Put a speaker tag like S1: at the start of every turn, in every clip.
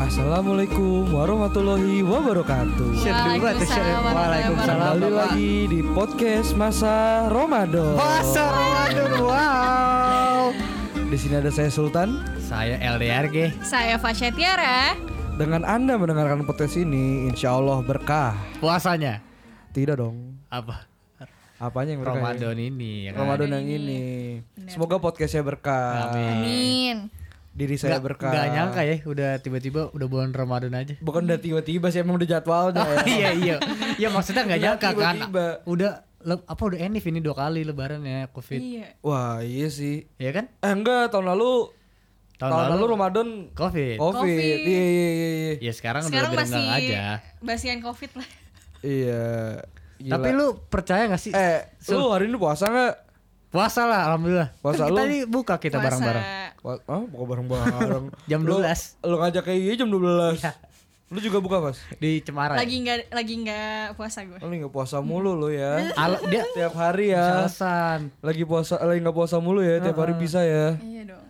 S1: Assalamualaikum warahmatullahi wabarakatuh.
S2: Share dulu atau share
S3: Waalaikumsalam
S2: Waalaikumsalam
S1: Kembali
S2: Bapak.
S1: lagi di podcast masa Ramadan.
S2: Masa Ramadan wow.
S1: Di sini ada saya Sultan.
S2: Saya LDRG.
S3: Saya Fasya Tiara.
S1: Dengan anda mendengarkan podcast ini, insya Allah berkah.
S2: Puasanya
S1: Tidak dong.
S2: apa?
S1: Apanya yang berkah? ya?
S2: Ramadan ini ya kan.
S1: Ramadan yang ini. Semoga podcastnya berkah.
S3: Amin.
S1: Diri saya
S2: Nggak,
S1: berkah.
S2: nggak nyangka ya udah tiba-tiba udah bulan Ramadan aja.
S1: Bukan udah tiba-tiba sih emang udah jadwalnya. ya.
S2: iya iya. Ya maksudnya nggak
S1: Nggak
S2: nyangka kan.
S1: tiba-tiba.
S2: Udah le- apa udah enif ini dua kali lebaran ya Covid.
S3: Iya.
S1: Wah iya sih.
S2: Ya kan?
S1: Eh enggak tahun lalu. Tahun, lalu, Ramadan COVID.
S2: Covid.
S3: Covid.
S1: Iya iya iya. iya.
S2: Ya sekarang, udah
S3: Sekarang
S2: lebih
S3: masih
S2: renggang aja.
S3: basian covid lah.
S1: Iya. Gila.
S2: Tapi lu percaya gak sih?
S1: Eh,
S2: Sul-
S1: lu hari ini puasa nggak?
S2: puasa lah alhamdulillah.
S1: Puasa lu?
S2: kan kita nih buka kita
S3: Puasa.
S2: bareng-bareng.
S1: Wah, ah, buka bareng-bareng.
S2: Jam Iya.
S1: Lu-
S2: 12.
S1: Lu, ngajak kayak gini jam 12. Lu juga buka, Mas?
S2: Di Cemara. ya?
S3: Lagi nggak lagi nggak puasa gue.
S1: Lu nggak puasa mulu lu ya.
S2: Al- dia
S1: tiap hari ya.
S2: alasan
S1: Lagi puasa, eh, lagi nggak puasa mulu ya, tiap
S2: Ah.
S1: hari bisa ya.
S3: Iya dong.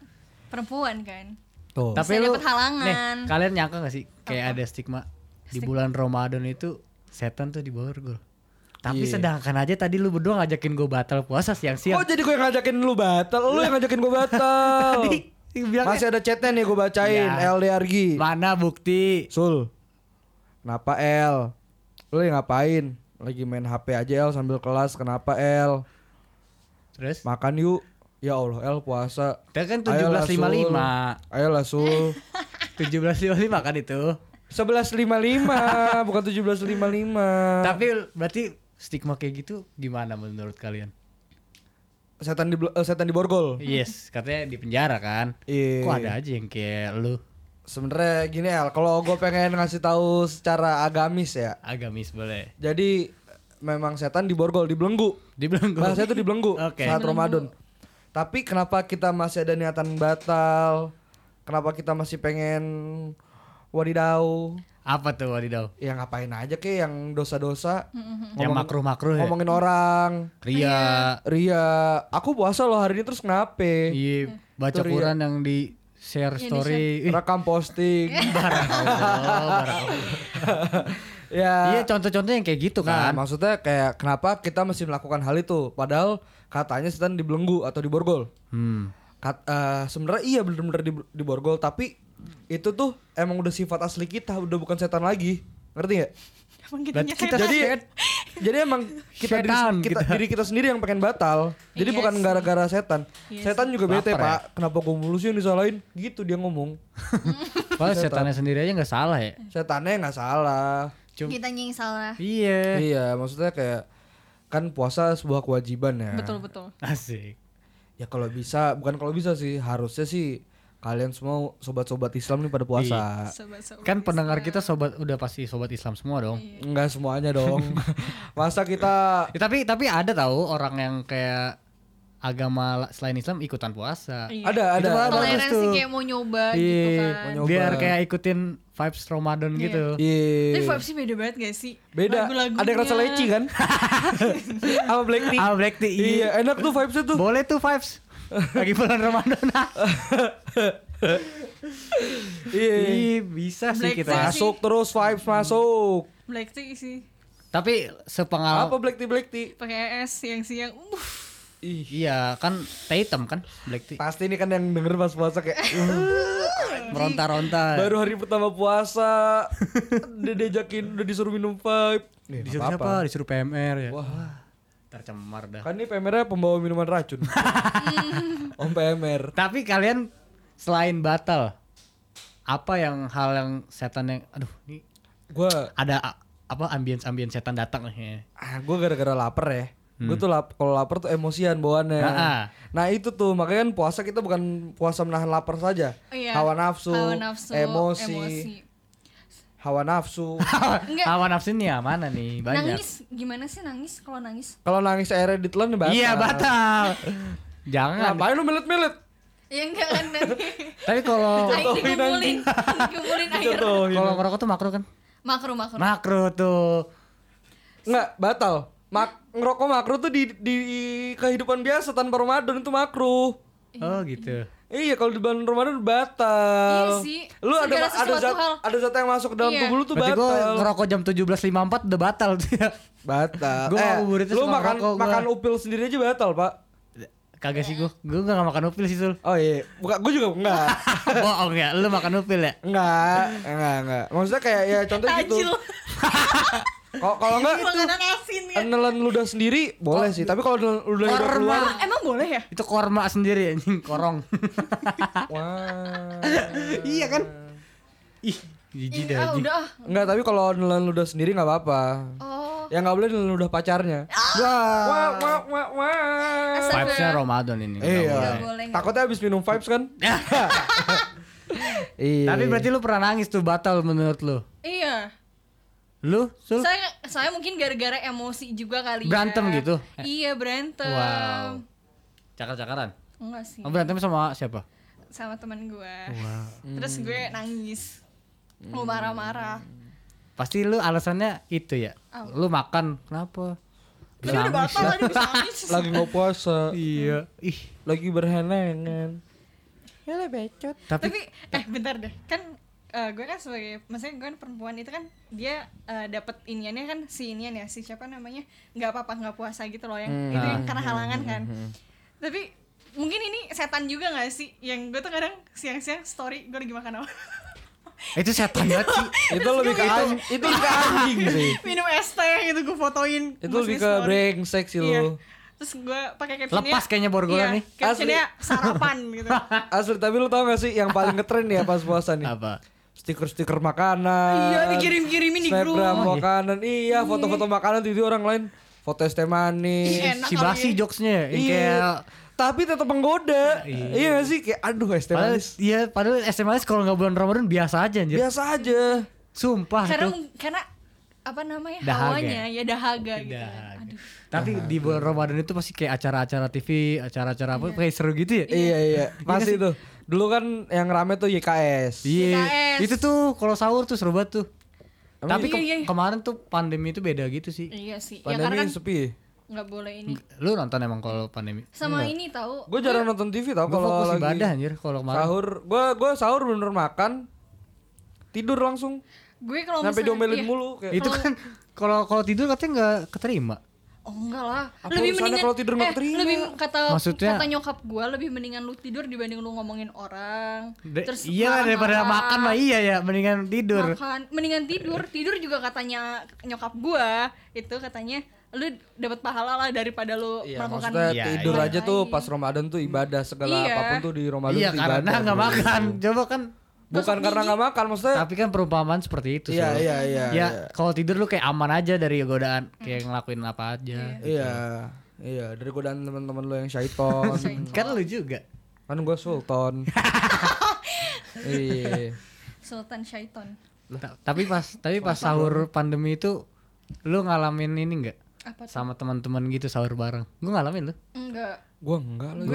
S3: Perempuan kan.
S1: Tuh.
S2: tapi
S3: Bisa
S2: lu
S3: dapet halangan.
S2: nih kalian nyangka gak sih kayak ada stigma di bulan Ramadan itu setan tuh di bawah gol tapi
S1: Iya.
S2: sedangkan aja tadi lu berdua ngajakin gue batal puasa siang-siang
S1: Oh, jadi gue yang ngajakin lu batal, lu yang ngajakin gue batal.
S2: Tadi bilangnya,
S1: Masih ada chatnya nih gue bacain
S2: Iya.
S1: LDRG.
S2: mana bukti
S1: Sul. Kenapa L? Lu lagi ngapain? Lagi main HP aja L sambil kelas. Kenapa L?
S2: terus
S1: Makan yuk. Ya Allah, El puasa.
S2: kita kan
S1: Ayolah,
S2: 1755
S1: Sul. Ayolah Sul.
S2: 1755 kan itu
S1: 1155 bukan 1755.
S2: tapi berarti stigma kayak gitu gimana menurut kalian
S1: setan di bel- eh, setan di borgol.
S2: yes katanya di penjara kan
S1: Iya.
S2: kok ada aja yang kayak lu
S1: Sebenarnya gini El, kalau gue pengen ngasih tahu secara agamis ya.
S2: agamis boleh
S1: Jadi memang setan di borgol, di belenggu.
S2: dibilang gue
S1: Bahasa itu di belenggu
S2: Oke.
S1: saat Ramadan. Tapi kenapa kita masih ada niatan batal? Kenapa kita masih pengen wadidau?
S2: apa tuh wadidaw
S1: Ya ngapain aja kek yang dosa-dosa?
S2: yang
S1: Ngomong-
S2: makruh-makruh ya
S1: Ngomongin orang.
S2: Ria
S1: Ria, aku puasa loh hari ini terus ngape?
S2: Oh, Iya, baca
S1: Itu Ria.
S2: Quran yang di share
S3: Iya,
S2: story. Ih,
S1: Rekam posting.
S2: barakallah, barakallah. Iya,
S1: ya.
S2: contoh-contoh yang kayak gitu
S1: Nah,
S2: kan.
S1: maksudnya kayak kenapa kita masih melakukan hal itu padahal katanya setan dibelenggu atau diborgol.
S2: Hmm.
S1: Kat, eh, sebenarnya iya bener-bener di, diborgol tapi itu tuh emang udah sifat asli kita, udah bukan setan lagi. Ngerti nggak?
S3: Emang gitu kita
S2: Berarti kita
S1: Jadi jadi emang kita diri,
S2: Setan
S1: kita,
S2: kita.
S1: diri kita sendiri yang pengen batal. Jadi
S3: Iya
S1: bukan
S3: sih.
S1: gara-gara setan.
S3: Iya
S1: setan juga bete,
S2: Baper ya.
S1: Pak. Kenapa gue mulu sih yang disalahin? Gitu dia ngomong.
S2: Padahal setannya sendiri aja nggak salah ya.
S1: Setannya nggak salah.
S2: Cuma
S3: kita yang salah.
S2: iya.
S1: Iya, maksudnya kayak kan puasa sebuah kewajiban ya.
S3: Betul betul.
S2: Asik.
S1: Ya kalau bisa, bukan kalau bisa sih, harusnya sih kalian semua sobat-sobat Islam nih pada puasa.
S3: Sobat sobat.
S2: Kan pendengar kita sobat udah pasti sobat Islam semua dong.
S3: Iya.
S1: Enggak semuanya dong. Masa kita
S2: Ya, tapi tapi ada tahu orang yang kayak agama la- selain Islam ikutan puasa.
S3: Iya.
S1: ada ada
S2: Itu mah
S1: ada.
S2: bagus
S3: Toleransi
S2: tuh.
S3: kayak mau nyoba gitu
S2: Iya,
S3: kan.
S1: mau nyoba.
S2: biar kayak ikutin vibes Ramadan gitu.
S1: Iya.
S3: Tapi vibesnya beda banget gak sih?
S1: Beda.
S3: Lagu-lagunya.
S1: Ada yang rasa leci kan? Sama black tea.
S2: Ah, black tea.
S1: Iya, enak tuh vibesnya tuh.
S2: Boleh tuh vibes. Lagi bulan Ramadan.
S1: Iya.
S2: Ih, bisa sih
S3: Black
S2: kita.
S3: tea.
S1: Masuk terus vibes masuk.
S3: Black tea sih.
S2: Tapi
S1: Apa
S2: sepengalaman
S1: black tea black tea?
S3: Pakai es siang-siang. Uff.
S1: Ih.
S2: Iya kan teh hitam kan black tea
S1: Pasti ini kan yang denger pas puasa kayak "Uh,
S2: meronta-ronta.
S1: baru hari pertama puasa udah diajakin udah disuruh minum vape. Nih,
S2: disuruh
S1: apa-apa.
S2: siapa? Disuruh PMR ya.
S1: Wah.
S2: tercemar dah.
S1: Kan ini PMR -nya pembawa minuman racun. Om PMR.
S2: Tapi kalian selain batal apa yang hal yang setan yang aduh ini
S1: Gua
S2: ada a- apa ambience-ambience setan datang nih.
S1: ah, gua gara-gara lapar ya. Gue
S2: Hmm.
S1: tuh lap, kalau lapar tuh emosian bawaannya.
S2: Ha-ha.
S1: Nah itu tuh makanya kan puasa kita bukan puasa menahan lapar saja.
S3: Iya.
S1: Hawa, nafsu,
S3: Hawa nafsu,
S1: emosi, hawa nafsu.
S3: Enggak.
S2: Hawa nafsu nih ya mana nih? Banyak.
S3: Nangis gimana sih nangis kalau nangis?
S1: kalau nangis airnya ditelan batal.
S2: Iya batal. Jangan.
S1: Ngapain lu melet-melet?
S3: Ya enggak kan nanti.
S2: Tapi kalau
S3: Air dikumpulin, dikumpulin air.
S2: kalau merokok tuh makro kan?
S3: Makro makro.
S1: Nah,
S2: Makro tuh.
S1: Enggak, batal. Mak ngerokok makro tuh di, di kehidupan biasa tanpa Ramadan itu makro.
S2: Oh gitu.
S1: Iya kalau di bulan Ramadan batal.
S3: Iya sih.
S1: Lu ada ada
S3: Segala sesuatu
S1: zat
S3: hal.
S1: ada zat yang masuk ke dalam
S3: Iya.
S1: tubuh lu tuh
S2: Berarti gue
S1: batal.
S2: ngerokok jam 17.54 udah batal tuh ya.
S1: Batal.
S2: Gua
S1: eh,
S2: ngabuburitnya
S1: lu
S2: suka
S1: makan
S2: ngerokok gua.
S1: makan upil sendiri aja batal, Pak.
S2: Kagak sih gue, gue gak makan upil sih Sul
S1: Oh iya, bukan gue juga enggak.
S2: Bohong ya, lu makan upil ya
S1: enggak, enggak, enggak. Maksudnya kayak ya contohnya gitu.
S3: Tajil.
S1: Kalau kalau enggak
S3: Makanan asin ya.
S1: Enelan ludah sendiri boleh sih, tapi kalau enelan ludah udah
S2: Korma.
S1: keluar,
S3: Emang- Emang boleh ya?
S2: Itu korma sendiri anjing, korong
S1: wah.
S2: Iya kan Ih, jijik
S3: Ih,
S2: dah
S3: ah,
S2: anjing
S3: udah. ah.
S1: Enggak, tapi kalau enelan ludah sendiri nggak apa-apa.
S3: Oh.
S1: Yang nggak boleh enelan ludah pacarnya. Wah,
S2: Wah
S1: wah, wah, wah.
S3: Asal
S2: Vibesnya Ramadan ini nggak
S3: Nggak
S1: Iya.
S2: boleh.
S3: boleh, nggak
S1: Takutnya habis minum vibes kan? Iya.
S2: Tapi berarti lu pernah nangis tuh batal menurut lu
S3: Iya.
S2: Lu, Sul?
S3: Saya saya mungkin gara-gara emosi juga kali
S2: Berantem
S3: ya.
S2: gitu?
S3: Iya, berantem.
S2: Wow Cakar-cakaran
S3: Enggak sih.
S2: Oh, berantem sama siapa?
S3: Sama teman gue. Terus gue nangis. Mau marah-marah.
S2: Hmm. Pasti lu alasannya itu ya
S3: Apa?
S2: Lu makan, kenapa?
S3: Tadi udah
S2: Nangis.
S3: batal tadi bisa nangis.
S1: lagi nggak puasa,
S2: Iya Ih,
S1: lagi berhenengan. Ya lah becot.
S2: tapi
S3: Tapi eh bentar deh. Kan eh, gue kan sebagai maksudnya gue kan perempuan itu kan dia eh, dapet iniannya kan si inian ya si siapa namanya nggak apa-apa nggak puasa gitu loh yang
S2: Hmm,
S3: itu
S2: nah,
S3: yang karena halangan kan tapi mungkin ini setan juga gak sih yang gue tuh kadang siang-siang story gue lagi makan apa
S2: itu setan banget sih
S1: Itu lebih ke anjing, itu lebih ke anjing sih.
S3: minum es teh gitu gue fotoin
S2: Eh,
S1: Itu
S3: terus
S1: lebih
S3: di
S1: ke
S3: story.
S1: brengsek sih
S3: Iya.
S1: lu.
S3: terus gue pakai captionnya iya,
S2: Lepas kayaknya borgolan nih.
S3: captionnya sarapan gitu
S1: Asli, tapi lu tau gak sih yang paling ngetren ya pas puasa nih?
S2: apa
S1: Stiker-stiker makanan.
S3: iya dikirim-kirimin di grup
S1: Snapgram makanan. Iya, foto-foto makanan tiba orang lain. Foto es teh manis.
S3: Enak
S2: si
S3: kali
S2: basi
S3: ya.
S2: jokesnya yang kayak
S1: Iya. Tapi tetap menggoda. Iya gak sih? Kayak aduh es teh
S2: padahal
S1: manis.
S2: iya padahal SMS kalau nggak bulan Ramadan biasa aja anjir
S1: Biasa aja.
S2: sumpah
S3: karena
S2: itu
S3: karena apa namanya
S2: Dahaga.
S3: hawanya ya dahaga gitu
S2: Dahaga.
S3: aduh
S2: tapi
S1: Nah.
S2: di bulan Ramadan itu pasti kayak acara-acara TV acara-acara apa kayak seru gitu ya
S1: Iya iya, pasti tuh. Dulu kan yang rame tuh
S2: Iya.
S1: YKS.
S3: PKS.
S2: itu tuh kalau sahur tuh seru banget tuh
S1: Emang
S2: tapi
S3: iya?
S2: ke-
S3: Iya, iya.
S2: kemarin tuh pandemi itu beda gitu sih
S3: iya sih ya
S1: Pandemi
S3: karena kan
S1: sepi.
S3: nggak boleh ini
S2: lu nonton emang kalau pandemi
S1: Iya.
S3: sama ini tahu
S1: Gue jarang nonton TV tau
S2: gue
S1: Oh, kalau
S2: fokus
S1: lagi
S2: ibadah anjir kalau kemarin
S1: sahur. Gue gue sahur bener makan, tidur langsung.
S3: gue kalau
S1: Sampai
S3: misalnya-
S1: diomelin
S3: iya.
S1: mulu kayak.
S2: itu kan kalau kalau tidur katanya nggak keterima
S3: oh enggak lah
S1: Apa urusannya
S3: lebih mendingan eh,
S1: kalau tidur nggak keterima?
S3: lebih kata
S2: Maksudnya-
S3: kata nyokap gue lebih mendingan lu tidur dibanding lu ngomongin orang
S2: De-
S3: terus
S2: iya lah, daripada
S3: marah-marah,
S2: makan mah iya ya mendingan tidur
S3: makan mendingan tidur tidur juga katanya nyokap gue itu katanya lu dapat pahala lah daripada lu
S1: Iya,
S3: melakukan
S1: maksudnya
S2: Iya,
S1: tidur
S2: iya.
S1: aja tuh pas Ramadan tuh ibadah segala
S3: Iya.
S1: apapun tuh di Ramadan
S2: iya
S1: tuh
S2: karena
S1: ibadah.
S2: nggak makan coba kan
S1: Bukan karena nggak makan maksudnya.
S2: tapi kan perumpamaan seperti itu
S1: Iya
S2: Sol.
S1: iya iya.
S2: ya kalau tidur lu kayak aman aja dari godaan kayak ngelakuin apa aja
S1: Iya. Iya, dari godaan teman-teman lo yang syaiton.
S2: kan lu juga
S1: kan gue sultan. iya.
S3: Sultan Syaiton
S2: Ta- tapi pas tapi pas sahur pandemi itu lu ngalamin ini nggak
S3: apa tuh?
S2: sama teman-teman gitu sahur bareng gua ngalamin lu
S3: enggak
S1: Gua enggak lagi.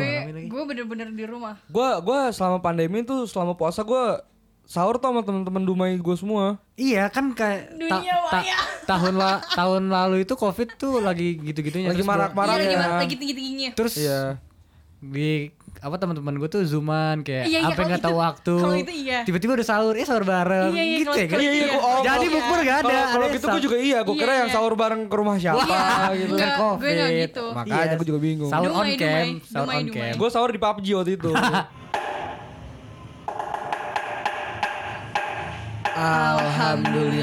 S3: gue gue bener-bener di rumah
S1: Gue gua selama pandemi tuh selama puasa gue sahur tuh sama teman-teman dumai gue semua.
S2: iya kan kayak ta-
S3: Dunia
S2: ta- tahun la- tahun lalu itu covid tuh lagi gitu-gitunya
S1: Lagi
S2: Terus gua-
S1: marak-marak
S3: Iya, lagi, ma-
S1: ya.
S3: lagi tinggi-tingginya
S2: terus
S1: Iya.
S2: di apa teman-teman gue tuh zooman kayak
S3: Iya, iya,
S2: apa
S3: kalau
S2: nggak tahu
S3: itu-
S2: waktu
S3: kalau itu iya.
S2: tiba-tiba udah sahur ya sahur bareng
S3: Iya, iya,
S2: gitu
S3: kalau-
S2: ya kan
S3: kalau- Iya, iya,
S1: gua- oh,
S2: jadi
S1: kalau-
S2: bukber gak ada
S1: Kalau kalau
S2: ada
S1: gitu
S2: yang
S1: gue
S2: sahur.
S1: juga iya, gue
S3: Iya,
S1: kira yang
S3: iya.
S1: sahur bareng ke rumah siapa gitu.
S3: Enggak,
S2: kan
S3: gue nggak
S2: covid
S3: gitu.
S1: Makanya
S2: Iya.
S1: gua juga bingung.
S2: sahur
S3: Dumai,
S2: on cam
S3: dumai,
S2: sahur
S3: dumai,
S2: on
S3: dumai.
S2: cam
S1: Gue sahur di PUBG waktu itu.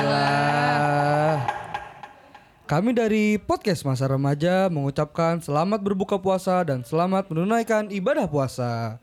S1: Alhamdulillah. Kami dari podcast masa remaja mengucapkan selamat berbuka puasa dan selamat menunaikan ibadah puasa.